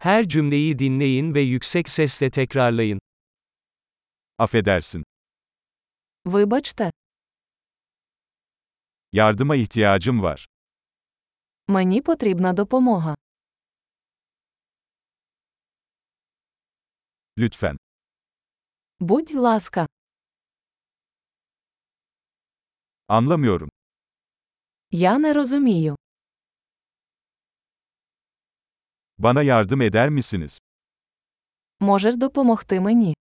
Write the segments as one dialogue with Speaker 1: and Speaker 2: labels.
Speaker 1: Her cümleyi dinleyin ve yüksek sesle tekrarlayın.
Speaker 2: Affedersin.
Speaker 3: Вибачте,
Speaker 2: Yardıma ihtiyacım var.
Speaker 3: мені потрібна допомога.
Speaker 2: Lütfen.
Speaker 3: Будь ласка,
Speaker 2: Anlamıyorum.
Speaker 3: я не розумію.
Speaker 2: Bana yardım eder misiniz?
Speaker 3: Можеш допомогти мені?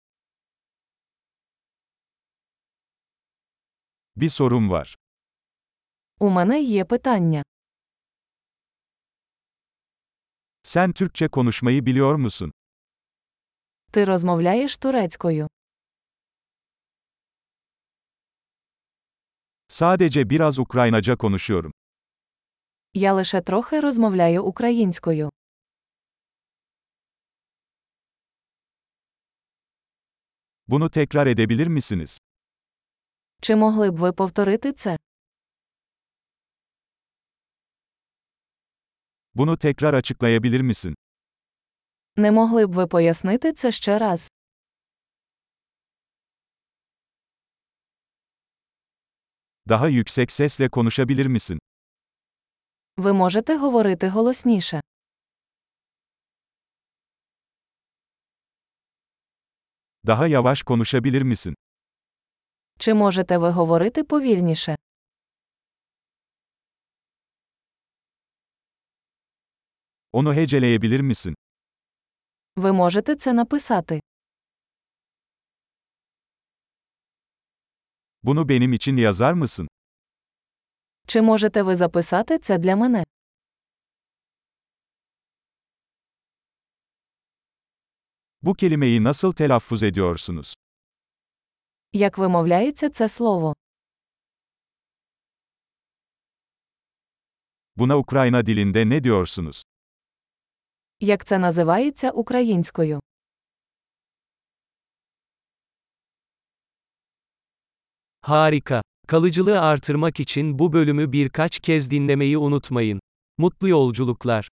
Speaker 2: Bir sorum var.
Speaker 3: У мене є питання.
Speaker 2: Sen Türkçe konuşmayı biliyor musun?
Speaker 3: Ти розмовляєш турецькою.
Speaker 2: Sadece biraz Ukraynaca konuşuyorum.
Speaker 3: Я лише трохи розмовляю українською.
Speaker 2: Bunu tekrar edebilir misiniz?
Speaker 3: Чи могли б ви повторити це?
Speaker 2: Bunu tekrar açıklayabilir misin?
Speaker 3: Не могли б ви пояснити це ще раз?
Speaker 2: Daha yüksek sesle konuşabilir misin?
Speaker 3: Ви можете говорити голосніше.
Speaker 2: Daha yavaş konuşabilir misin?
Speaker 3: Чи можете ви говорити повільніше?
Speaker 2: Onu heceleyebilir misin?
Speaker 3: Ви можете це написати.
Speaker 2: Bunu benim için yazar mısın?
Speaker 3: Чи можете ви записати це для мене?
Speaker 2: Bu kelimeyi nasıl telaffuz ediyorsunuz?
Speaker 3: Як вимовляється це слово?
Speaker 2: Buna Ukrayna dilinde ne diyorsunuz?
Speaker 3: Як це називається українською?
Speaker 1: Harika. Kalıcılığı artırmak için bu bölümü birkaç kez dinlemeyi unutmayın. Mutlu yolculuklar.